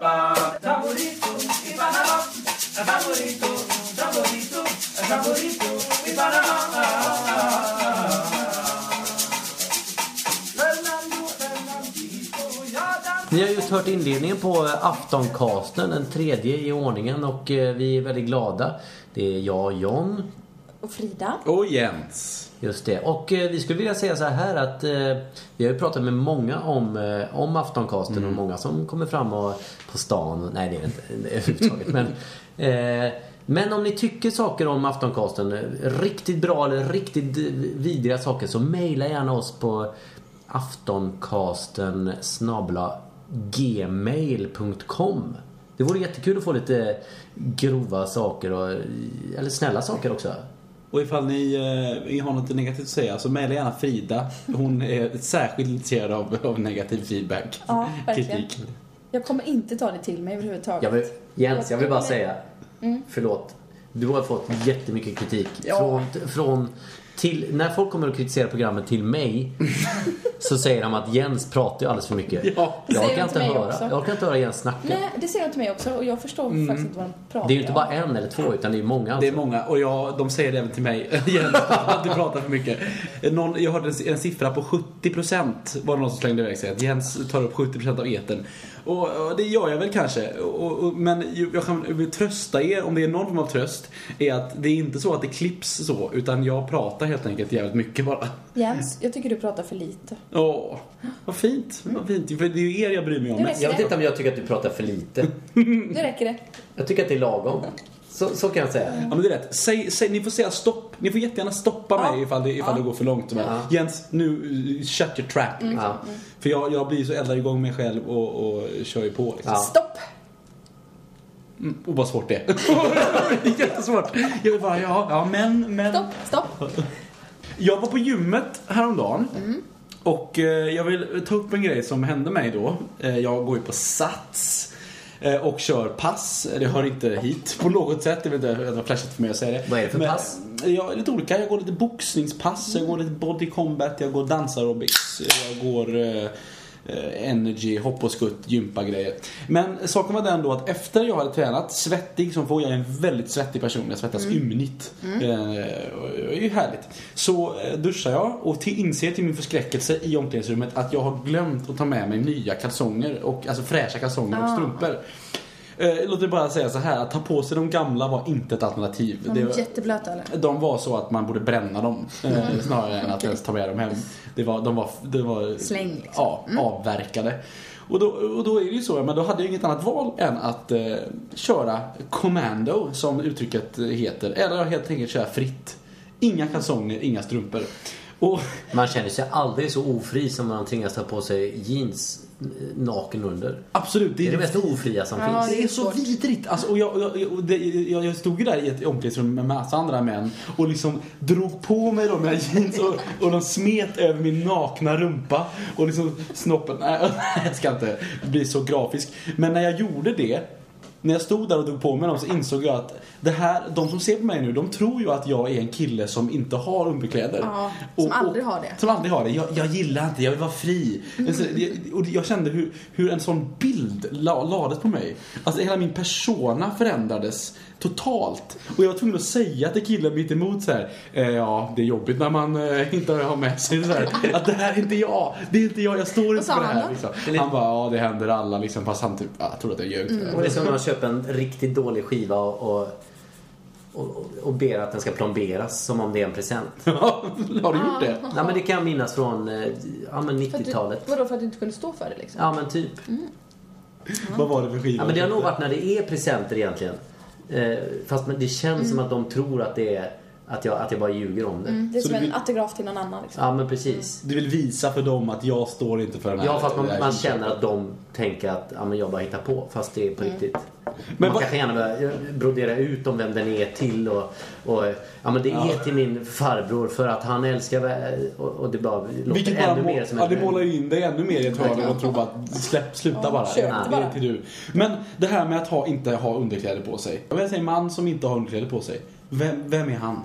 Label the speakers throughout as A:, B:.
A: Saborito y Panamá, saborito, saborito, saborito y Panamá.
B: Ni har just hört inledningen på eh, Aftoncasten, den tredje i ordningen och eh, vi är väldigt glada. Det är jag, John,
C: Och Frida.
D: Och Jens.
B: Just det. Och eh, vi skulle vilja säga så här att eh, vi har ju pratat med många om, eh, om Aftoncasten och många som kommer fram och, på stan. Nej, det är det inte överhuvudtaget. men, eh, men om ni tycker saker om Aftoncasten, eh, riktigt bra eller riktigt vidriga saker så mejla gärna oss på aftoncasten snabla gmail.com Det vore jättekul att få lite grova saker och, eller snälla saker också.
D: Och ifall ni eh, har något negativt att säga så mejla gärna Frida. Hon är särskilt intresserad av, av negativ feedback.
C: Ja, verkligen.
D: Kritik.
C: Jag kommer inte ta det till mig överhuvudtaget.
B: Jag vill, Jens, jag vill bara säga. Förlåt. Du har fått jättemycket kritik.
C: Mm. Ja.
B: Från, från, till, när folk kommer och kritiserar programmet till mig så säger de att Jens pratar ju alldeles för mycket.
D: Ja.
B: Jag,
C: Säger
B: orkar
C: de
B: inte
C: till mig
B: höra,
C: också.
B: jag orkar inte höra Jens snacka.
C: Nej, det säger de till mig också och jag förstår
D: Mm.
C: faktiskt inte vad de pratar om.
B: Det är ju inte bara en eller två utan det är många.
D: Det
B: Alltså.
D: är många och jag, de säger det även till mig. Jens, du pratar för mycket. Någon, jag hörde en, en siffra på 70% var det någon som slängde iväg sig. Att Jens tar upp 70% av eten. Och, och det gör jag väl kanske. Och, och, men ju- jag kan vill trösta er, om det är någon form av tröst, är att det är inte så att det klipps så. Utan jag pratar helt enkelt jävligt mycket bara.
C: Jens, jag tycker du pratar för lite.
D: Åh, vad fint. Vad fint. För det är ju er jag bryr mig om.
C: Det räcker
B: Jag vet
C: det.
B: inte om jag tycker att du pratar för lite.
C: Nu räcker det.
B: Jag tycker att det är lagom. Så, så kan jag säga.
D: Ja men det är rätt. Säg, säg, ni får säga stopp. Ni får jättegärna stoppa
C: Ja.
D: mig ifall, det, ifall det går för långt. Men,
B: Ja.
D: Jens, nu uh, shut your trap. Liksom.
B: Ja.
D: För jag, jag blir så eldar igång mig själv och, och kör ju på. Liksom.
B: Ja.
C: Stopp!
D: Och vad svårt det är. Det är Jättesvårt. Jag vill bara, ja, ja men, men.
C: Stopp, stopp.
D: Jag var på gymmet häromdagen. Och eh, jag vill ta upp en grej som hände mig då. Eh, jag går ju på Sats. eh, Och kör pass. Det hör inte hit på något sätt. Jag vet inte det var flashigt för mig att säga det.
B: Vad är det för
D: Men,
B: pass?
D: Ja, lite olika. Jag går lite boxningspass, jag går lite body combat, jag går dansaerobics, jag går eh, eh, energy, hopp och skutt, gympagrejer. Men saken var den då att efter jag hade tränat, svettig som får, jag är en väldigt svettig person, jag svettas ymnigt. Eh, och Det är ju härligt. Så eh, duschar jag och till, inser till min förskräckelse i omklädningsrummet att jag har glömt att ta med mig nya kalsonger, och, alltså fräscha kalsonger och strumpor. Eh, Låt mig bara säga så här, att ta på sig de gamla var inte ett alternativ.
C: De
D: Det
C: är
D: var-
C: jätteblöta eller?
D: de var så att man borde bränna dem eh,
C: Mm.
D: snarare än att ens ta med dem hem. Det var, de var, det var
C: Släng, liksom.
D: ja, avverkade. Och då, och då är det ju så, men då hade jag inget annat val än att eh, köra commando som uttrycket heter. Eller helt enkelt köra fritt. Inga kalsonger, inga strumpor. Och
B: Man känner sig aldrig så ofri som när man tvingas ta på sig jeans eh, naken under.
D: absolut,
B: Det är det mest ofria som finns.
D: Det är så vidrigt. Alltså, och jag, och jag, och det, jag, jag stod ju där i ett omklädningsrum med massa andra män och liksom drog på mig de här jeans och, och de smet över min nakna rumpa och liksom snoppen. Nej, jag ska inte bli så grafisk. Men när jag gjorde det, när jag stod där och drog på mig dem så insåg jag att det här, de som ser på mig nu, de tror ju att jag är en kille som inte har underkläder.
C: Ja, som aldrig har det.
D: Som aldrig har det. Jag, jag gillar inte, jag vill vara fri. Alltså, det- Och jag kände hur, hur en sån bild la, lades på mig. Alltså hela min persona förändrades totalt. Och jag var tvungen att säga till killen mitt emot så här. Eh, ja, det är jobbigt när man eh, inte har med sig så här. Att det här är inte jag. Det är inte jag, jag står inte
C: sa
D: för det
C: han
D: här.
C: då?
D: Liksom. Han bara, ja det händer alla liksom. Fast han typ, ah, jag tror att jag ljög.
C: Mm.
B: Och det är som när man köper en riktigt dålig skiva och, och, och, och ber att den ska plomberas som om det är en present.
D: har du gjort det?
B: Nej men det kan jag minnas från eh, ja, men
C: För att du,
B: 90-talet.
C: vadå, för att du inte kunde stå för det liksom?
B: Ja men typ.
D: Vad var det för skiva?
B: Ja, men det har nog varit när det är presenter egentligen. Eh, fast men det känns som
C: Mm.
B: att de tror att det är att jag, att jag bara ljuger om det.
C: Det är
D: Så
C: som
D: du
C: en
D: vill-
C: autograf till någon annan liksom.
B: Ja men precis.
D: Du vill visa för dem att jag står inte för den här.
B: Ja fast man,
D: det här
B: man
D: inköpet.
B: känner att de tänker att ja, men jag bara hittar på fast det är på riktigt.
D: Men
B: man
D: vad-
B: kanske gärna börjar brodera ut om vem den är till och, och ja men det är till min farbror för att han älskar vä- och, och det bara låter
D: Vilket bara
B: ännu
D: må,
B: mer som
D: ja,
B: en-
D: det målar ju in dig ännu mer i ett hörn och tror bara att släpp, sluta bara.
C: kör inte
D: det är
C: bara.
D: till du. Men det här med att ha, inte ha underkläder på sig. Om jag säger man som inte har underkläder på sig, vem, vem är han?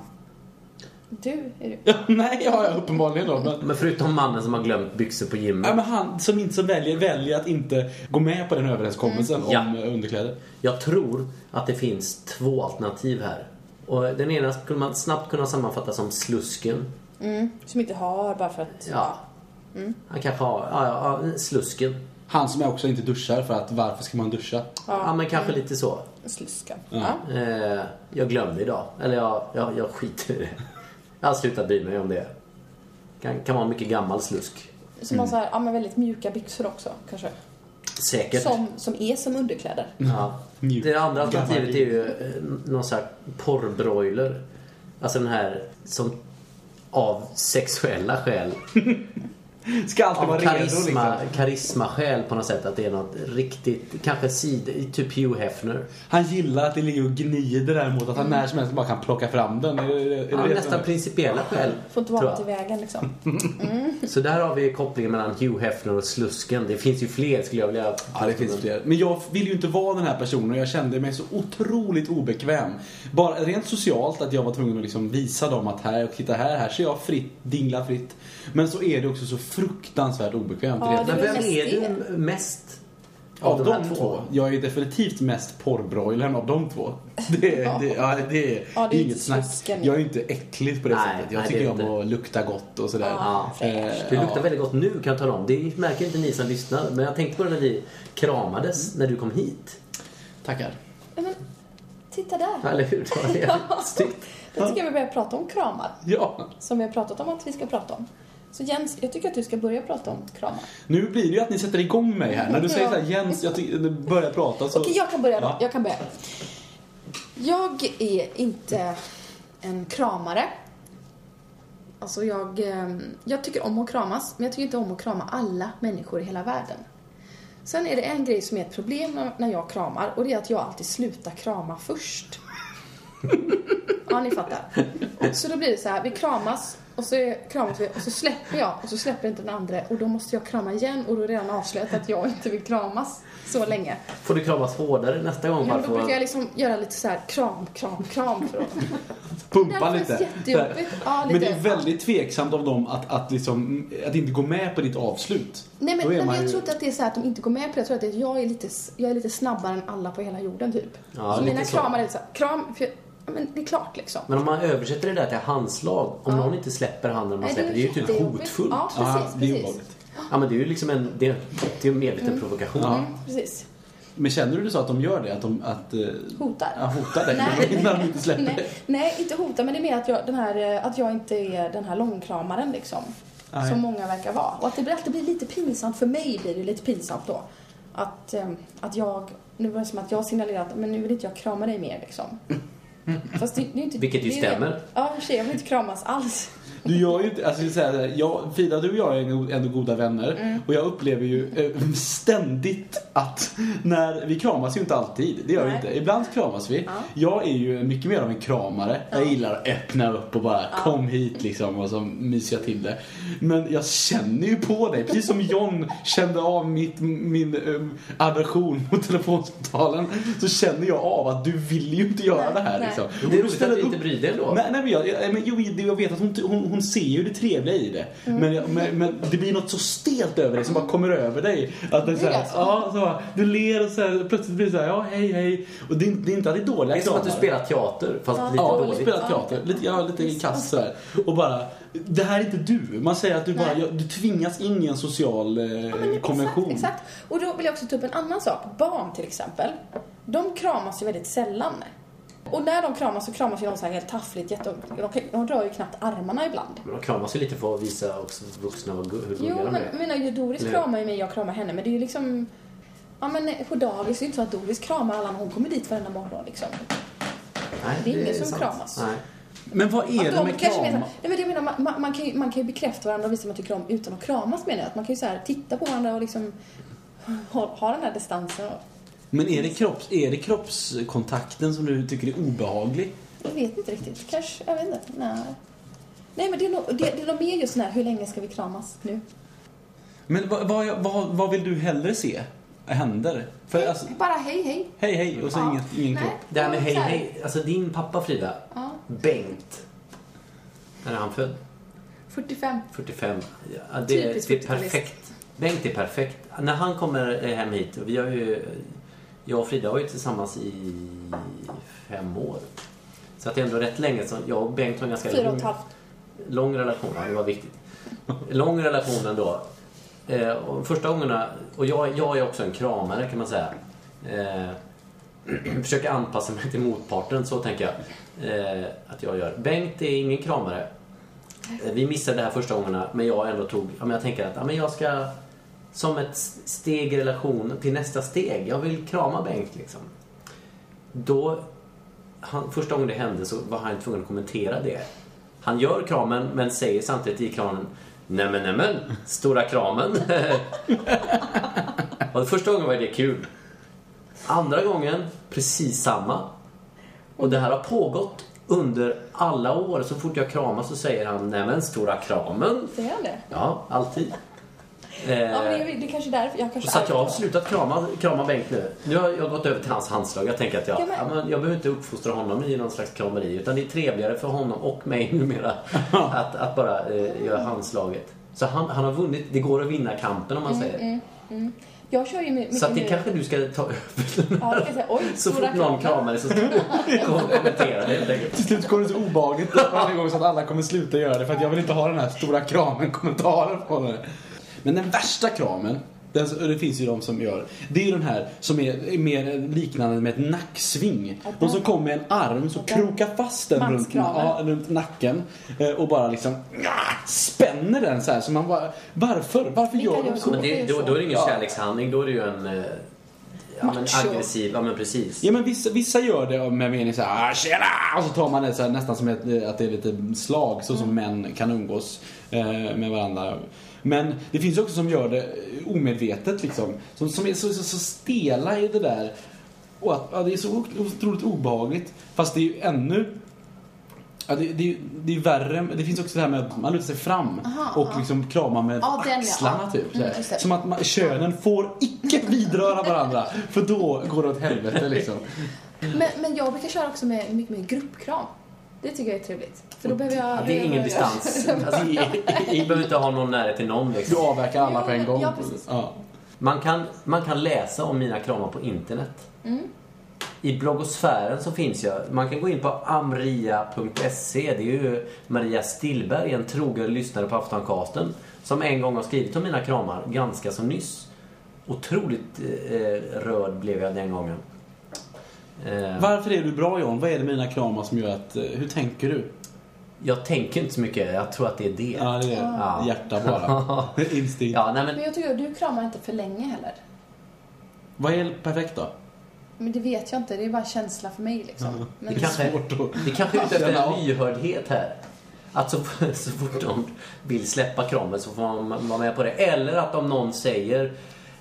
C: Du, är du.
D: Ja, nej, ja, ja, uppenbarligen då. Men,
B: Men förutom mannen som har glömt byxor på gymmet.
D: ja, men han som inte som väljer, väljer att inte gå med på den överenskommelsen
B: Mm. Ja.
D: om eh, underkläder.
B: Jag tror att det finns två alternativ här. Och den ena skulle man snabbt kunna sammanfatta som slusken.
C: Mm. Som inte har bara för att...
B: Ja. Han kanske har, ja, ja, ja, slusken.
D: Han som jag också inte duschar för att varför ska man duscha?
B: Ja, men kanske lite så.
C: Sluskan.
D: Mm.
C: Ja.
B: Eh, jag glömde idag. Eller jag, jag, jag skiter i det. Jag har slutat bry mig om det. Kan, kan vara mycket gammal slusk.
C: Som
B: Mm.
C: har så här, ja, men väldigt mjuka byxor också kanske.
B: Säkert.
C: Som, som är som underkläder.
B: Ja.
D: Mjuk.
B: Det andra
D: Gammal
B: alternativet är
D: liv.
B: ju eh, någon sån här porrbroiler. Alltså den här som av sexuella skäl
D: Ska alltid
B: av
D: vara redo
B: karisma,
D: liksom.
B: karismaskäl på något sätt. Att det är något riktigt, kanske sid, typ Hugh Hefner.
D: Han gillar att det ligger och gnider däremot. Att han när som helst bara kan plocka fram den. Är det- är det- är det
B: Mm. Ja,
D: det
B: nästan
D: som är-
B: principiella skäl.
C: Får inte
B: tror
C: vara
B: jag.
C: allt i vägen liksom.
B: Så där har vi kopplingen mellan Hugh Hefner och slusken. Det finns ju fler skulle jag vilja
D: Ja, det finns fler. Men jag vill ju inte vara den här personen och jag kände mig så otroligt obekväm. Bara rent socialt att jag var tvungen att liksom visa dem att här, och titta här, här ser jag fritt, dingla fritt. Men så är det också så fruktansvärt obekvämt.
C: Ja,
D: rent.
C: det
B: Men
C: väl
B: vem
C: mest
B: är
C: det.
B: du mest
D: av de, två. Jag är ju definitivt mest porrbroilern av de två. Det, är- det, ja, det, är-
C: Ja, det är
D: det är
C: inte
D: inget snack.
C: slusken.
D: Jag är ju inte äcklig på det
B: Nej,
D: sättet. Jag
B: nej, det
D: tycker
B: är
D: om
B: inte.
D: att lukta gott och sådär.
B: Ja.
D: Eh,
B: Det luktar väldigt gott nu kan jag tala om. Det märker inte ni som lyssnar. Men jag tänkte på det när vi kramades när du kom hit.
D: Tackar.
C: Ja, men, titta där.
B: Eller hur? Det Typ. var jävligt snyggt.
C: Då tycker jag vi börjar prata om kramar.
D: Ja.
C: Som vi har pratat om att vi ska prata om. Så Jens, jag tycker att du ska börja prata om kramar.
D: Nu blir det ju att ni sätter igång mig här. När du säger så här, Jens, jag ty- börjar prata så...
C: Okej, jag kan börja då.
D: Ja.
C: Jag kan börja. Jag är inte en kramare. Alltså jag, eh, jag tycker om att kramas, men jag tycker inte om att krama alla människor i hela världen. Sen är det en grej som är ett problem när- när jag kramar och det är att jag alltid slutar krama först. ja, ni fattar. Så då blir det så här, vi kramas och så är- kramas vi och så släpper jag och så släpper inte den andra och då måste jag krama igen och då är det redan avslöjat att jag inte vill kramas så länge.
B: Får du kramas hårdare nästa gång?
C: Ja,
B: bara
C: men då
B: för att-
C: brukar jag liksom göra lite så här kram, kram, kram för honom.
D: Pumpa
C: Det
D: lite.
C: känns jättejobbigt. Ja, lite.
D: Men det är väldigt tveksamt av dem att, att, liksom, att inte gå med på ditt avslut.
C: Nej men,
D: Då är
C: nej, men
D: man
C: jag
D: ju-
C: tror inte att det är så här att de inte går med på det. Jag tror att det är att jag är lite, s- jag är lite snabbare än alla på hela jorden typ.
B: Ja,
C: så
B: lite
C: mina
B: så.
C: kramar är lite så här, kram, för jag, ja, men det är klart liksom.
B: Men om man översätter det där till handslag, om någon inte släpper handen man
C: Nej,
B: släpper, det är ju typ
C: jättejobbigt.
B: hotfullt.
C: Ja, precis,
D: Ja, det är
C: precis.
D: obehagligt.
B: Ja men det är ju liksom en, det, det är en medveten provokation.
D: Ja.
C: Mm, precis.
D: Men känner du det så att de gör det? Att de att, eh,
C: Hotar.
D: ja, hotar dig när de inte släpper
C: nej,
D: dig?
C: nej, inte hota, men det är mer att jag, den här, eh, att jag inte är den här långkramaren liksom.
D: Nej.
C: Som många verkar vara. Och att det blir- alltid blir lite pinsamt, för mig blir det lite pinsamt då. Att, eh, att jag, nu var det som att jag signalerade att men nu vill inte jag krama dig mer liksom. Fast det, det är ju inte,
B: Vilket ju
C: det är det.
B: stämmer.
C: Ja, i och för sig, jag vill inte kramas alls.
D: Du gör ju inte, alltså jag, vill säga, så här, jag, Frida du och jag är ändå- ändå goda vänner
C: Mm.
D: och jag upplever ju eh, ständigt att när vi kramas ju inte alltid, det gör vi
C: Nej.
D: inte. Ibland kramas vi. Jag är ju mycket mer av en kramare. Jag gillar att öppna upp och bara kom hit liksom och så myser jag till det. Men jag känner ju på dig, precis som John kände av mitt, min um, aversion mot telefonsamtalen så känner jag av att du vill ju inte göra
C: Nej,
D: det här
C: nej.
D: liksom.
B: Det är
D: Och du
B: roligt att
D: ställer
B: du inte
D: upp.
B: bryr dig ändå.
D: Nej, nej, men jag, jag, men, jo, det- jag vet att hon, hon, hon ser ju det trevliga i det. Men, jag, men, men det blir något så stelt över dig som bara kommer över dig. Att det så
C: Det
D: här,
C: är så.
D: ja, så här, du ler och så här, plötsligt blir det så här, ja hej hej. Och det, är- det är inte alltid dåliga
B: Det är som att du
D: kramar.
B: spelar teater fast
C: Ja,
B: lite
D: Ja,
B: dåligt.
D: och spelar teater. Lite, ja, lite kass så här. Och bara, det här är inte du. Man säger att du bara,
C: Nej.
D: ja, du tvingas in i en social eh,
C: Ja, men
D: konvention.
C: Exakt, exakt. Och då vill jag också ta upp en annan sak. Barn till exempel, de kramas ju väldigt sällan. Och när de kramas så kramas ju de så här helt taffligt. Jätte... De, kan- de rör ju knappt armarna ibland.
B: Men de kramas ju lite för att visa också vuxna vad gu- hur
C: Jo,
B: gulliga de
C: men
B: är.
C: mina, ju Doris
B: Eller-
C: kramar ju mig, jag kramar henne. Men det är ju liksom... Ja, men på dagis är det inte så att Doris kramar alla när hon kommer dit varenda morgon liksom.
B: Nej,
C: det är ingen som
B: sant.
C: kramas.
B: Nej.
D: Men vad är det
C: de
D: med
C: kanske menar,
D: kramar?
C: nej, men det jag menar, man, man, man, kan ju, man kan ju bekräfta varandra och visa vad man tycker om utan att kramas menar jag. Att man kan ju så här titta på varandra och liksom ha, ha den här distansen. Och,
D: Men är det, kropps, är det kroppskontakten som du tycker är obehaglig?
C: Jag vet inte riktigt. Kanske, jag vet inte. Nej. Nej men det är nog, det, det är nog mer just den här, hur länge ska vi kramas nu?
D: Men vad, vad, vad, vad vill du hellre se händer? För alltså,
C: Bara hej hej.
D: hej hej och så
C: Ja.
D: inget, ingen
C: Nej.
D: kropp.
B: Det här med
C: Ja,
B: hej Alltså,
C: så här.
B: hej, alltså din pappa Frida,
C: Ja.
B: Bengt. När är han född?
C: 45.
B: 45. Ja, det,
C: Typiskt
B: det är
C: 40-talist.
B: perfekt. Bengt är perfekt. När han kommer eh, hem hit, och vi har ju, jag och Frida var ju tillsammans i fem år. Så att det är ändå rätt länge. Så jag och Bengt har en ganska
C: Fyra och
B: lång-
C: ett halvt.
B: Lång relation, ja, det var viktigt. Lång relation ändå. Eh, och första gångerna, och jag, jag är också en kramare kan man säga. Eh, försöker anpassa mig till motparten, så tänker jag eh, att jag gör. Bengt är ingen kramare. Eh, vi missade det här första gångerna, men jag ändå tog, ja, men jag tänker att ja, men jag ska som ett steg i relation till nästa steg. Jag vill krama Bengt liksom. Då, han, första gången det hände så var han tvungen att kommentera det. Han gör kramen men säger samtidigt i kramen Nämen nämen, stora kramen. och första gången var det kul. Andra gången, precis samma. Och det här har pågått under alla år. Så fort jag kramar så säger han Nämen stora kramen.
C: Säger han det?
B: Ja, alltid.
C: Ja, men
B: Eh,
C: det, är- det är kanske är därför. Jag kanske
B: så att jag har
C: är-
B: slutat krama, krama Bengt nu. Nu har jag gått över till hans handslag. Jag tänker att jag,
C: Ja,
B: ja,
C: men-
B: men... jag behöver inte uppfostra honom i någon slags krameri. Utan det är trevligare för honom och mig numera att, att bara eh, göra handslaget. Så han, han har vunnit. Det går att vinna kampen om man säger.
C: Jag kör ju my- Mm, mycket
B: Så att det
C: nu.
B: kanske du ska ta över.
C: Ja, det kan jag säga. Oj,
B: Så
C: stora
B: fort någon kramar dig så ska du kommentera det helt enkelt.
D: Till slut kommer det så obehagligt ut varje gång så att alla kommer sluta göra det för att jag vill inte ha den här stora kramen-kommentaren från henne. Men den värsta kramen, den, och det finns ju de som gör, det är ju den här som är, är mer liknande med ett nacksving. De som kommer med en arm så krokar fast den runt,
C: Manskramen.
D: ja, runt nacken eh, och bara liksom ja, spänner den så här. Så man bara, varför? Varför
C: Vilka
D: gör
C: gör
D: de
C: så?
D: så?
B: Men det, då, då är det ingen
D: Ja.
B: kärlekshandling. Då är det ju en eh, ja, men
C: Macho.
B: aggressiv. Ja men precis.
D: Ja men vissa, vissa gör det med mening såhär "Ah, tjena! Och så tar man det så här, nästan som ett, att det är lite slag så som
C: Mm.
D: män kan umgås eh, med varandra. Men det finns ju också som gör det omedvetet liksom. Som, som är så, så, så stela i det där. Och att, ja, det är så otroligt obehagligt. Fast det är ju ännu Ja, det, det, är- det är värre, det finns också det här med att man lutar sig fram
C: Aha,
D: och
C: ja.
D: liksom kramar med
C: Ja, den, ja.
D: axlarna typ. Så här.
C: Mm, just det.
D: som att man, könen får icke vidröra varandra för då går det åt helvete liksom.
C: Men, men jag brukar köra också med mycket med gruppkram. Det tycker jag är trevligt. För då behöver jag...
B: Ja, det är ingen distans. Alltså, vi behöver inte ha någon närhet till någon
D: Du
B: liksom.
D: avverkar alla på en gång.
C: Ja, precis.
D: Ja.
B: Man kan, man kan läsa om mina kramar på internet. I bloggosfären så finns jag. Man kan gå in på amria.se. Det är ju Maria Stillberg, en trogen lyssnare på Aftoncasten, som en gång har skrivit om mina kramar ganska så nyss. Otroligt eh, rörd blev jag den gången. Eh,
D: Varför är du bra John? Vad är det med dina kramar som gör att, eh, hur tänker du?
B: jag tänker inte så mycket. Jag tror att det är det.
D: Ja, det är
B: Ja.
D: hjärta bara. Instinkt.
B: Ja, nej, men
C: Men jag tycker du kramar inte för länge heller.
D: Vad är perfekt då?
C: Men det vet jag inte, det är bara en känsla för mig liksom. Men,
B: Det kanske,
D: Svårt att-
B: vi kanske är ute efter
D: Känna av.
B: en lyhördhet här. Att så, så fort de vill släppa kramen så får man vara med på det. Eller att om någon säger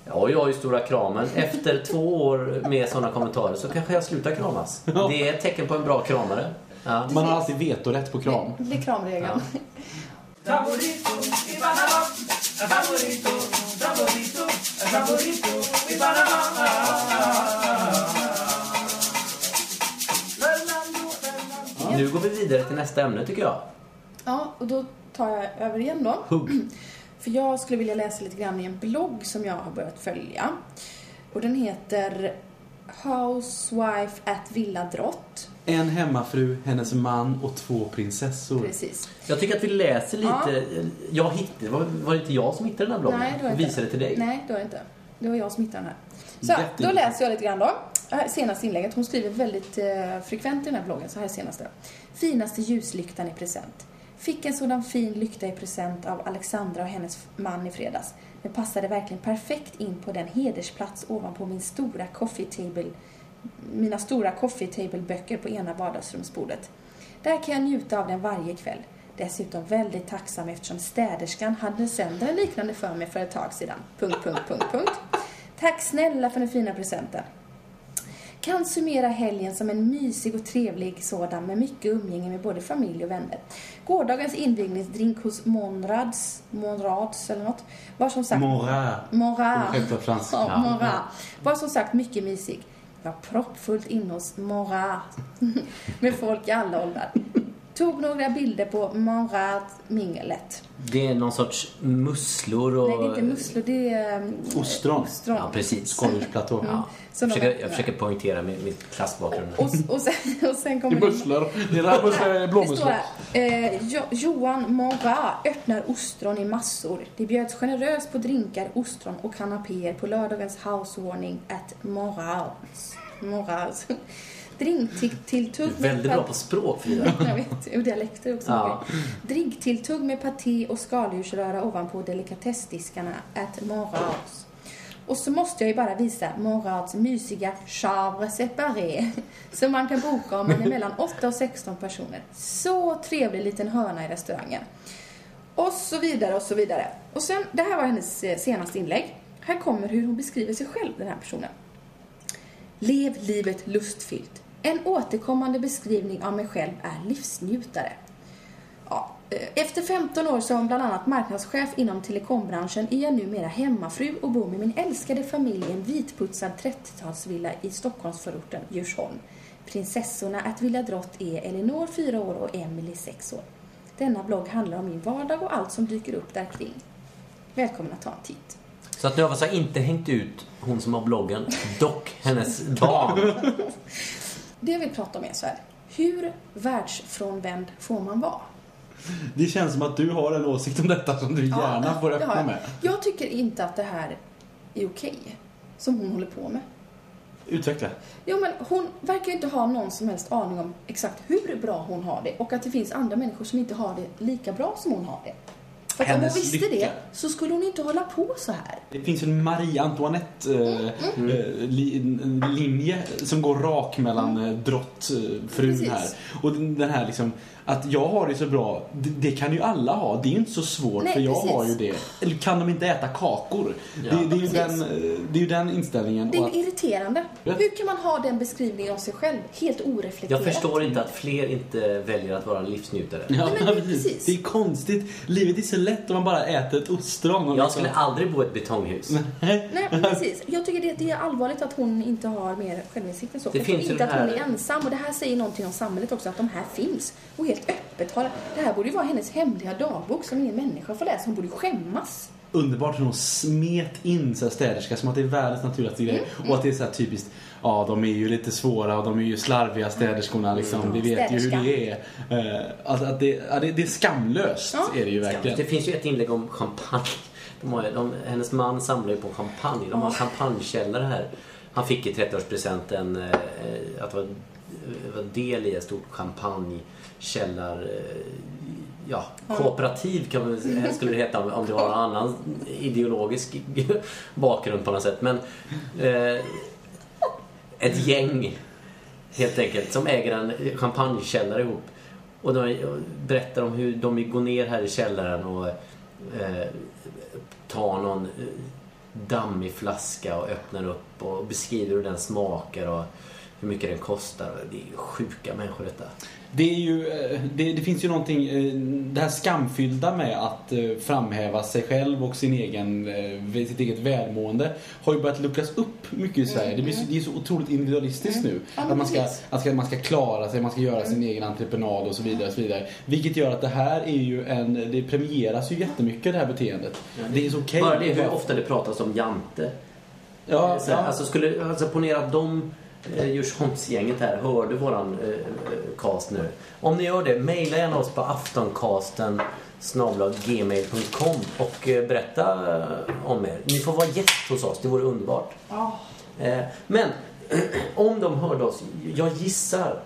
B: Ja, jag är ju stora kramen. Efter två år med sådana kommentarer så kanske jag slutar kramas. Det är ett tecken på en bra kramare. Ja.
D: Man har alltid vetorätt på kram.
C: det blir kramregeln.
A: Saborito y Panamá. Saborito, saborito, saborito y Panamá. Fernando, Fernando.
B: Nu går vi vidare till nästa ämne tycker jag.
C: Ja, och då tar jag över igen då.
B: Hugg.
C: För jag skulle vilja läsa lite grann i en blogg som jag har börjat följa. Och den heter Housewife at Villa Drott.
D: En hemmafru, hennes man och två prinsessor.
C: Precis.
B: Jag tycker att vi läser lite. Jag hittade, var, var det inte jag som hittade den här bloggen?
C: Nej, det var
B: och
C: inte.
B: visade till dig?
C: Nej, det var det inte. Det var jag som hittade den här. Så, då
D: Jätteintressant.
C: läser jag lite grann då. Det här är Senaste inlägget. Hon skriver väldigt eh, frekvent i den här bloggen. Så här är senaste. Finaste ljuslyktan i present. Fick en sådan fin lykta i present av Alexandra och hennes man i fredags. Den passade verkligen perfekt in på den hedersplats ovanpå min stora coffee table, mina stora coffee table-böcker på ena vardagsrumsbordet. Där kan jag njuta av den varje kväll. Dessutom väldigt tacksam eftersom städerskan hade sönder en liknande för mig för ett tag sedan. Punkt, punkt, punkt, punkt. Tack snälla för den fina presenten. Kan summera helgen som en mysig och trevlig sådan med mycket umgänge med både familj och vänner. Gårdagens invigningsdrink hos Monrads, Monrads eller något, var som sagt...
D: Morin.
C: Monrad.
D: Självklart franskt.
C: Ja,
D: Ja.
C: Morat. Var Alltså, som sagt mycket mysig. Jag var proppfullt inne hos Morat. Med folk i alla åldrar. Tog några bilder på Monrat-minglet.
B: Det är någon sorts musslor och...
C: Nej, det är inte musslor, det är... ehm,
D: Ostron.
C: Ostron.
B: Ja, precis.
D: Skaldjursplatå.
B: Ja.
C: Så
B: Jag, försöker,
C: de-
B: jag försöker poängtera min, min klassbakgrund.
C: Och, och, sen, och sen
D: Det
C: kommer
D: är musslor. Det är musslor, det är
C: Det
D: blåmusslor.
C: står här. Eh, jo, Johan Monrat öppnar ostron i massor. Det bjöds generöst på drinkar, ostron och kanapéer på lördagens housewarning at Morals. Morals. Drinktilltugg
B: Du
C: till
B: är väldigt bra på språk, Frida.
C: Jag vet, och dialekter också.
B: Ja.
C: Drinktilltugg med paté och skaldjursröra ovanpå delikatessdiskarna at Morals. Och så måste jag ju bara visa Morals mysiga charme séparé som man kan boka om man är mellan 8 och 16 personer. Så trevlig liten hörna i restaurangen. Och så vidare och så vidare. Och sen, det här var hennes eh, senaste inlägg. Här kommer hur hon beskriver sig själv, den här personen. Lev livet lustfyllt. En återkommande beskrivning av mig själv är livsnjutare. Ja, eh, efter 15 år som bland annat marknadschef inom telekombranschen är jag numera hemmafru och bor med min älskade familj i en vitputsad 30-talsvilla i Stockholmsförorten Djursholm. Prinsessorna att Villa Drott är Elinor 4 år och Emily 6 år. Denna blogg handlar om min vardag och allt som dyker upp där kring. Välkommen att ta en titt.
B: Så att nu har vi alltså inte hängt ut hon som har bloggen, dock hennes barn.
C: Det jag vill prata om är så här. Hur världsfrånvänd får man vara?
D: Det känns som att du har en åsikt om detta som du gärna får
C: det har
D: öppna
C: jag.
D: med.
C: Jag tycker inte att det här är okej, som hon håller på med.
D: Utveckla.
C: Jo, men hon verkar ju inte ha någon som helst aning om exakt hur bra hon har det och att det finns andra människor som inte har det lika bra som hon har det. För att om hon
D: Hennes
C: visste
D: lycka.
C: det så skulle hon inte hålla på så här.
D: Det finns en Marie eh,
C: Mm,
D: Antoinette-linje som går rak mellan mm. drottfrun
C: Precis.
D: här. Och den den här liksom, att jag har det så bra, det, det kan ju alla ha. Det är ju inte så svårt
C: Nej,
D: för jag
C: precis.
D: har ju det. Eller kan de inte äta kakor?
B: Ja.
D: Det, det, är ju
C: Precis.
D: den, eh, det är ju den inställningen.
C: Det
D: och att-
C: är irriterande.
D: Ja.
C: Hur kan man ha den beskrivningen av sig själv helt
B: Jag
C: oreflekterat?
B: förstår inte att fler inte väljer att vara livsnjutare.
D: Ja,
C: Nej, men det är precis.
D: Det är konstigt. Livet är så lätt om man bara äter ett ostron. och
B: Jag
D: liksom-
B: skulle aldrig bo i ett betonghus.
C: Nej, precis. Jag tycker det, det är allvarligt att hon inte har mer självinsikt än så.
B: Det
C: jag
B: finns
C: tror
B: ju
C: inte
B: den
C: att hon
B: här-
C: är ensam. Och det här säger någonting om samhället också, att de här finns. Och helt öppet har... Det här borde ju vara hennes hemliga dagbok som ingen människa får läsa. Hon borde ju skämmas.
D: Underbart hur hon smet in så här städerska som att det är världens naturligaste grej. Och att det är så här typiskt, ja de är ju lite svåra och de är ju slarviga städerskorna liksom. Vi vet ju hur det är. Eh, Att, att det, ja, det, det är skamlöst
C: Ja.
D: är det ju verkligen.
B: Det finns ju ett inlägg om champagne. De har, ju- de, hennes man samlar ju på champagne. De har en champagnekällare här. Han fick i 30-årspresent en, eh, eh, att det var, det var del i en stor champagnekällar... eh, Ja, kooperativ kan man väl säga- skulle det heta om, om det var någon annan ideologisk bakgrund på något sätt. Men eh, ett gäng helt enkelt, som äger en champagnekällare ihop. Och de berättar om hur de går ner här i källaren och eh, tar någon eh, dammig flaska och öppnar upp och beskriver hur den smakar och hur mycket den kostar. Och Det är ju sjuka människor detta.
D: Det, är ju, eh, det, det finns ju någonting, eh, det här skamfyllda med att eh, framhäva sig själv och sin egen, eh, sitt eget välmående har ju börjat luckras upp mycket i Sverige. Det, blir, så- det är så otroligt individualistiskt nu.
C: Mm. Ja, men
D: att man ska,
C: precis. Mm.
D: att ska, man ska klara sig, man ska göra sin egen entreprenad och så vidare. Och så vidare. Vilket gör att det här är ju en, det premieras ju jättemycket det här beteendet. det är så okej.
B: Bara det hur ofta det pratas om jante.
D: Ja,
B: Så
D: Eh, ja.
B: här, Alltså, skulle, alltså ponera att de eh, Djursholmsgänget här hörde våran eh, eh, cast nu. Om ni gör det, mejla gärna oss på aftoncasten gmail.com och eh, berätta eh, om er. Ni får vara gäst hos oss, det vore underbart. Eh, Men om de hörde oss, jag gissar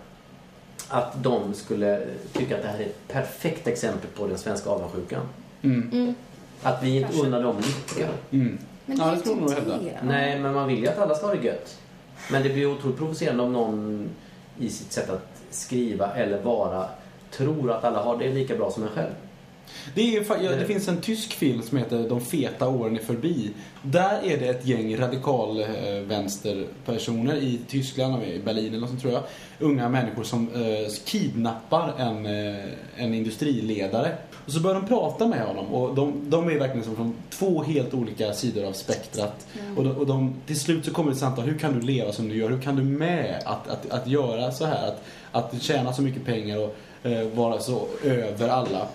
B: att de skulle tycka att det här är ett perfekt exempel på den svenska avundsjukan.
D: Mm,
B: Att vi inte
C: Kanske.
B: unnar dem lycka.
C: Men
D: Ja,
C: det är
D: det
C: ju
D: tror jag nog jag hävdar.
C: irriterande.
B: Nej, men man vill ju att alla ska ha det gött. Men det blir otroligt provocerande om någon i sitt sätt att skriva eller vara tror att alla har det lika bra som en själv.
D: Det, är, ju fa- ja, det
B: Det-
D: finns en tysk film som heter De feta åren är förbi. Där är det ett gäng radikalvänsterpersoner i Tyskland, de är i Berlin eller något sånt tror jag. Unga människor som eh, kidnappar en, eh, en industriledare. Och så börjar de prata med honom och de, de är verkligen som från två helt olika sidor av spektrat.
C: Mm.
D: Och, de, och de, till slut så kommer det ett samtal, hur kan du leva som du gör? Hur kan du med att, att, att göra så här? Att, att tjäna så mycket pengar och eh, vara så över alla.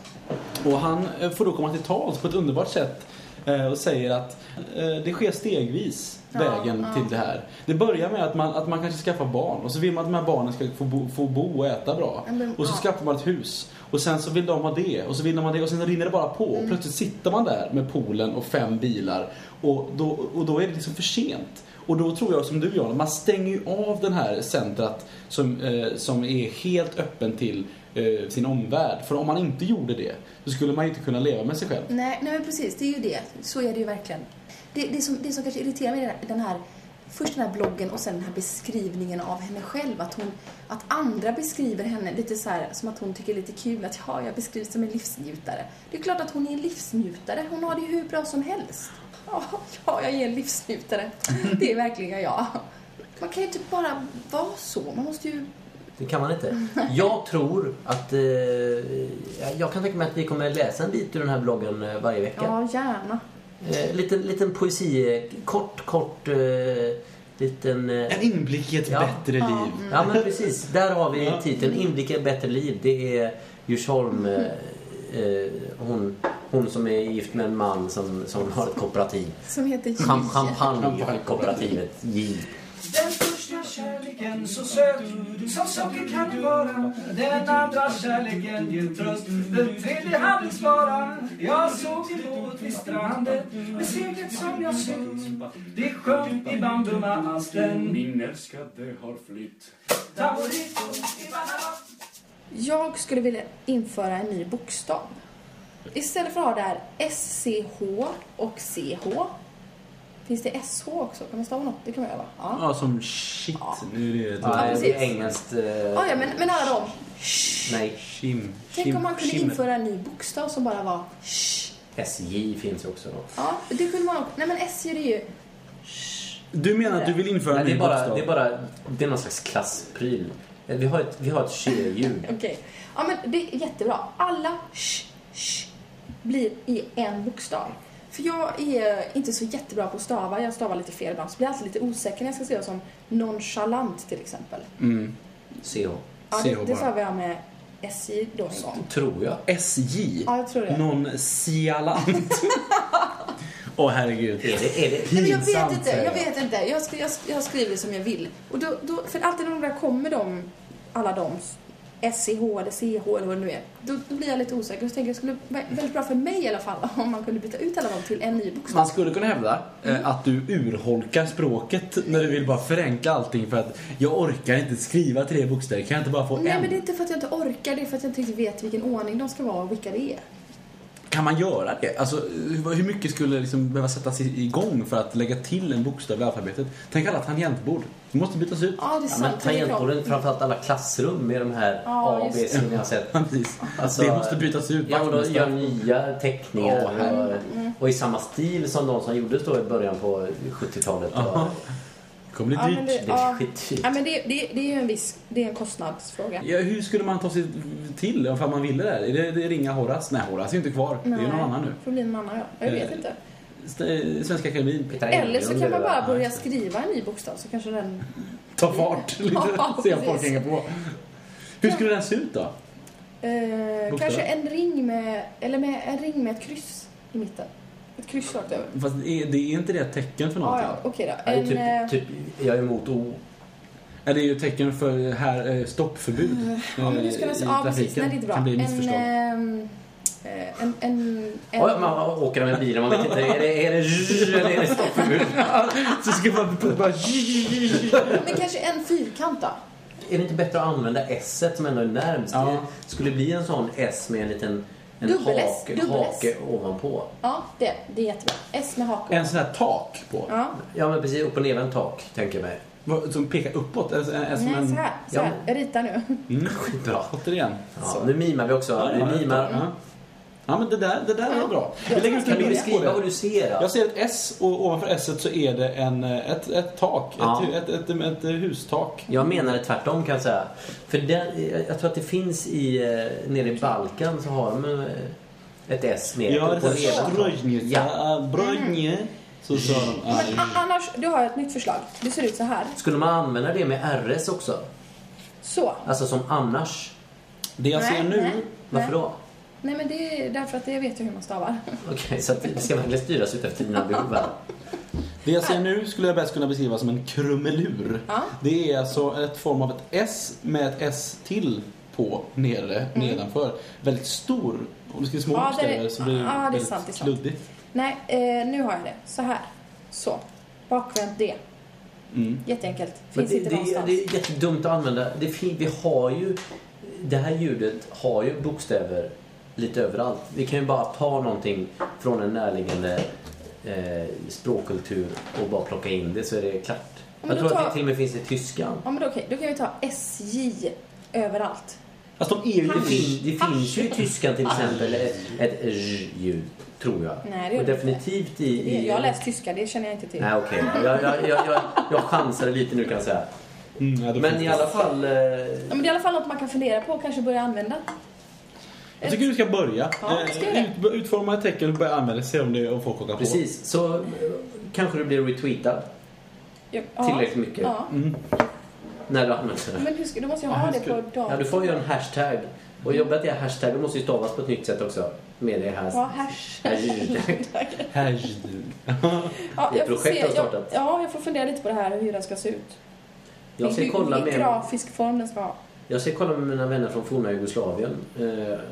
D: Och han eh, får då komma till tals på ett underbart sätt eh, och säger att eh, det sker stegvis,
C: Ja,
D: vägen
C: ja.
D: till det här. Det börjar med att man, att man kanske skaffar barn och så vill man att de här barnen ska få bo, få bo och äta bra.
C: Ja, men,
D: Och så
C: ja.
D: skaffar man ett hus. Och sen så vill de ha det och så vill de ha det och sen rinner det bara på. Och plötsligt sitter man där med poolen och fem bilar och då, och då är det liksom för sent. Och då tror jag som du Jan, man stänger ju av den här centrat som, eh, som är helt öppen till eh, sin omvärld. För om man inte gjorde det så skulle man ju inte kunna leva med sig själv.
C: Nej, nej men precis, det är ju det. Så är det ju verkligen. Det, det, som, det som kanske irriterar mig är den här, först den här bloggen och sen den här beskrivningen av henne själv. Att, hon, att andra beskriver henne lite så här, som att hon tycker det är lite kul att ja, jag beskrivs som en livsnjutare. Det är klart att hon är en livsnjutare, hon har det ju hur bra som helst. Ja, ja jag är en livsnjutare. Det är verkligen jag. Man kan ju inte bara vara så, man måste ju...
B: Det kan man inte. Jag tror att... Eh, jag kan tänka mig att vi kommer läsa en bit ur den här bloggen eh, varje vecka.
C: Ja, gärna.
B: Eh, liten, liten poesi, eh, kort, kort... Eh, liten... Eh,
D: En inblick i ett
B: Ja. Mm.
D: bättre
C: Ja.
D: liv.
B: Ja men precis, där har vi
D: Ja.
B: titeln Inblick i ett bättre liv. Det är Djursholm, eh, eh, hon, hon som är gift med en man som, som har ett kooperativ.
C: Som heter J.
B: Cham- Champagnekooperativet J.
A: Den första kärleken så söt som socker kan det vara Den andra kärleken ger tröst Den tredje handens vara Jag såg din båt vid stranden Med seglet som jag sytt Det sjönk i bambumasten
E: Min älskade har flytt.
A: Taborito i Panama
C: Jag skulle vilja införa en ny bokstav. Istället för att ha det här SCH och CH. Finns det SH också? Kan man stava något? Det kan man göra va? Ja.
D: Ja, som shit. Nu är det...
B: Ja,
C: precis.
B: det är engelskt... Eh,
C: Ah, Ja, ja men, men alla de.
B: Nej,
D: Shim,
C: Tänk
D: shim,
C: om man kunde
D: shimmer.
C: införa en ny bokstav som bara var sh.
B: SJ finns ju också då.
C: Ja, det kunde man också. Nej men SJ det är ju sh.
D: Du menar att du vill införa
B: Nej,
D: en
B: det,
D: ny
B: är bara,
D: bokstav?
B: det är bara... Det är någon slags klasspryl. Eh, Vi har ett, vi har ett tjejljud.
C: Okej. Ja men det är jättebra. Alla sh, sh blir i en bokstav. För jag är inte så jättebra på att stava. Jag stavar lite fel ibland. Så blir jag alltid lite osäker när jag ska skriva som nonchalant till exempel.
D: Mm.
B: CH.
C: Ja,
D: CH
C: det, det
D: bara.
C: sa vi med SJ då som.
B: Tror jag.
D: SJ.
C: Ja, jag tror det.
D: Någon sialant. Åh herregud.
B: Är det, är det
C: Nej, men jag vet
D: pinsamt,
C: inte,
D: säger
C: jag
D: jag.
C: vet inte. Jag, skri, jag, jag skriver som jag vill. Och då, då, för alltid när de där kommer de, alla de, SCH eller CH eller vad det nu är, då, då blir jag lite osäker. Och så tänker jag, det skulle vara väldigt bra för mig i alla fall om man kunde byta ut alla dem till en ny bokstav.
D: Man skulle kunna hävda eh, att du urholkar språket när du vill bara förenkla allting för att jag orkar inte skriva tre bokstäver. Kan jag inte bara få
C: Nej,
D: en?
C: men det är inte för att jag inte orkar, det är för att jag inte riktigt vet vilken ordning de ska vara och vilka det är.
D: Kan man göra det? Alltså, hur hur mycket skulle liksom behöva sättas i- igång för att lägga till en bokstav i alfabetet? Tänk alla tangentbord. De måste bytas ut.
C: Ja, det är
B: Ja,
C: sant. Mm.
B: men
C: det är bra.
B: tangentbordet, framförallt alla klassrum med de här
C: Ja,
B: A och B
C: just det.
B: som jag har sett. Alltså-
D: Precis. det måste bytas ut.
B: Ja, och de gör
D: vaktmästare.
B: nya teckningar.
D: Ja, här-
C: Mm,
B: och, och i samma stil som de som gjordes då i början på 70-talet.
D: Ja. kommer bli
C: Ja,
D: dyrt.
C: men det,
B: Det är
C: ja.
B: skitdyrt.
C: Ja, men det, det, det är ju en viss, det är en kostnadsfråga.
D: Ja, hur skulle man ta sig till om man ville det? här? Är det, det är ringa Horace? Nej, Horace är ju inte kvar. Det är någon annan nu.
C: får bli någon annan, ja. Jag vet
D: Eh,
C: inte.
D: St- eh, Svenska Akademin.
B: Petra
C: Eller
B: Englund
C: så kan man
B: gjorde det
C: bara
B: där.
C: börja skriva en ny bokstav så kanske den...
D: Ta fart lite.
C: Ja,
D: se om folk
C: precis.
D: hänger på. Hur skulle den se ut då?
C: Eh, kanske en ring med... Eller med, en ring med ett kryss i mitten. Ett kryss rakt över.
D: Fast är, det är inte det ett tecken för
C: Ja,
D: någonting?
C: ja, okej då.
B: Nej,
C: En, eh,
B: typ, typ, jag är emot O.
D: Ja, det är ju ett tecken för här, eh, stoppförbud
C: Mm. ja, men
D: eh,
C: hur ska den
D: i
C: se... Ja, precis. Nej, det är inte bra.
D: kan bli
C: En...
D: missförstånd.
C: ehm, eh, en, en, en,
B: Ja, man åker med bilen, man vet inte. Är det, är det zzz eller är det stoppförbud?
D: Så ska man bara...
C: men kanske en fyrkant då?
B: Är det inte bättre att använda S som ändå är närmst?
D: Ja.
B: Det skulle bli en sån S med en liten en
C: Dubbel S,
B: hake,
C: dubbel S.
B: hake ovanpå.
C: Ja, det, det är jättebra. S med hake.
D: En sån här tak på.
C: Ja.
B: Ja, men precis. Upp och ner en tak, tänker jag mig.
D: Vad- Som pekar uppåt. En, en, en, som
C: Nej,
D: en...
C: så här. Så
B: ja,
C: här.
B: men-
C: Jag ritar nu.
D: Mm.
B: Skitbra.
D: Återigen.
B: Ja, nu mimar vi också. vi mimar.
D: Ja. ja, men det där, det där är
C: Ja.
D: bra. Vi lägger ut
B: Kan
D: en
B: du
D: bild på
B: beskriva
D: det.
B: vad du ser? då?
D: Jag ser ett S och ovanför S så är det en, eh, ett, ett tak. Ett,
B: Ja.
D: hu- ett, ett, ett, eh, hustak.
B: Jag menar det tvärtom kan jag säga. För den, jag- jag tror att det finns i, eh, nere i Balkan så har de eh, ett S med
D: Ja,
B: på
D: det är
B: levertaget.
D: ströjnje.
B: ja.
D: Ja, bröjnje. Så sa de. Ja,
C: Men a- annars, då har jag ett nytt förslag. Det ser ut så här.
B: Skulle man använda det med RS också?
C: Så.
B: Alltså som annars?
D: Det jag ser nu...
C: nej,
B: Varför
C: nej.
B: då?
C: Nej, men det är därför att jag vet ju hur man stavar.
B: Okej, så att det ska verkligen styras utefter dina behov här.
D: Det jag ser nu skulle jag bäst kunna beskriva som en krumelur.
C: Ja.
D: Det är alltså ett form av ett S med ett S till på nere, nedanför. Väldigt stor. Om du skriver små
C: Mm. Ja, det är-
D: bokstäver så blir det,
C: ja, det är
D: väldigt
C: sant, det är sant.
D: kluddigt.
C: Nej, eh, nu har jag det. Så här. Så. Bakvänt D.
D: Mm.
C: Jätteenkelt.
B: Men
C: Finns
B: det,
C: inte
B: det, är-
C: någonstans.
B: det är jättedumt att använda. Det, fin- vi har ju... Det här ljudet har ju bokstäver lite överallt. Vi kan ju bara ta någonting från en närliggande eh, språkkultur och bara plocka in det så är det klart.
C: men
B: Jag
C: då
B: tror att
C: tar-
B: det till och med finns i tyskan.
C: Ja, men då, okej. Då kan vi ta SJ överallt.
D: Fast de är ju
B: Det, fin-
D: lite...
B: det finns ju i tyskan till exempel ett, ett r-ljud, tror jag.
C: Nej, det gör
B: och
C: det
B: definitivt i...
C: Det,
B: i
C: jag har läst tyska, det känner jag inte till.
B: Nej, okej. Jag, jag, jag, jag, jag chansade lite nu kan jag säga.
D: Mm, ja, det
B: Men
D: finns
B: i
D: det.
B: alla fall... Eh,
C: Ja, men det är i alla fall något man kan fundera på och kanske börja använda.
D: Jag tycker du ska börja.
C: Ja,
D: Eh,
C: jag ska göra det.
D: Ut, utforma ett tecken och börja använda det. Se om, det, om folk hakar på.
B: Precis, så eh, kanske du blir retweetad
C: Ja,
B: tillräckligt mycket
C: Ja.
D: Mm.
B: när du använder det.
C: Men hur ska, då måste jag
D: Ja,
C: ha
D: hur
C: det
D: ska-
C: på datorn.
B: Ja, du får ju en hashtag. Och jobba till hashtaggen måste ju stavas på ett nytt sätt också. Med det här.
C: Ja, hash.
B: Hashtag.
D: Hashtag.
C: Ja,
B: Det är
C: jag får
B: projekt
C: se.
B: har startat.
C: Jag, ja, jag får fundera lite på det här hur den ska se ut.
B: Jag ska
C: Vilken-
B: kolla
C: vilken
B: med,
C: grafisk form den ska ha.
B: jag ska kolla med mina vänner från forna Jugoslavien. Eh,
D: Är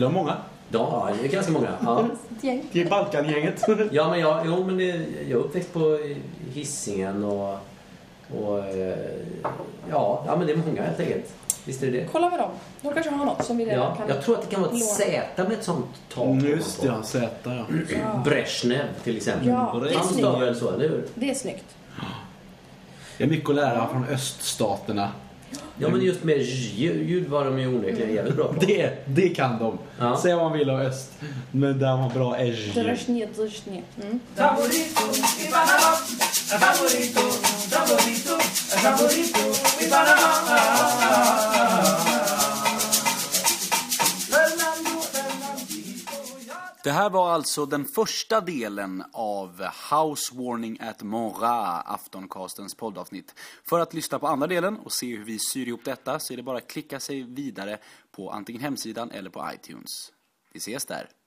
D: de många?
B: ja, det är ganska många. Ja,
C: Ett gäng.
D: Det är Balkangänget.
B: ja men jag, jo, men det, jag är uppväxt på eh, Hisingen och... och eh, ja, ja, men det är många helt enkelt. Visst är det det?
C: Kolla med dem. De kanske har något som vi redan
B: Ja,
C: kan...
B: jag tror att det kan vara ett
C: låna.
B: Z med ett sånt tak.
D: Mm, Just alltså. ja, Z ja.
C: Ja.
B: Brezhnev till exempel.
C: Ja, det är
B: Han
C: snyggt.
B: stavar väl så, eller hur?
C: Det är snyggt.
D: Det är mycket att lära från öststaterna.
B: Ja, men just med ljud ljud var de ju onekligen jävligt bra på.
D: Det, det kan de.
B: Ja.
D: Säg vad man vill om öst. Men där har bra edge.
C: Drösjnje, drösjnje. Mm.
A: Favorito, mi Panamá. Favorito, favorito, favorito, mi Panamá. Fernando, Fernandito,
F: Det här var alltså den första delen av House Warning at Mora, Aftoncastens poddavsnitt. För att lyssna på andra delen och se hur vi syr ihop detta så är det bara att klicka sig vidare på antingen hemsidan eller på iTunes. Vi ses där!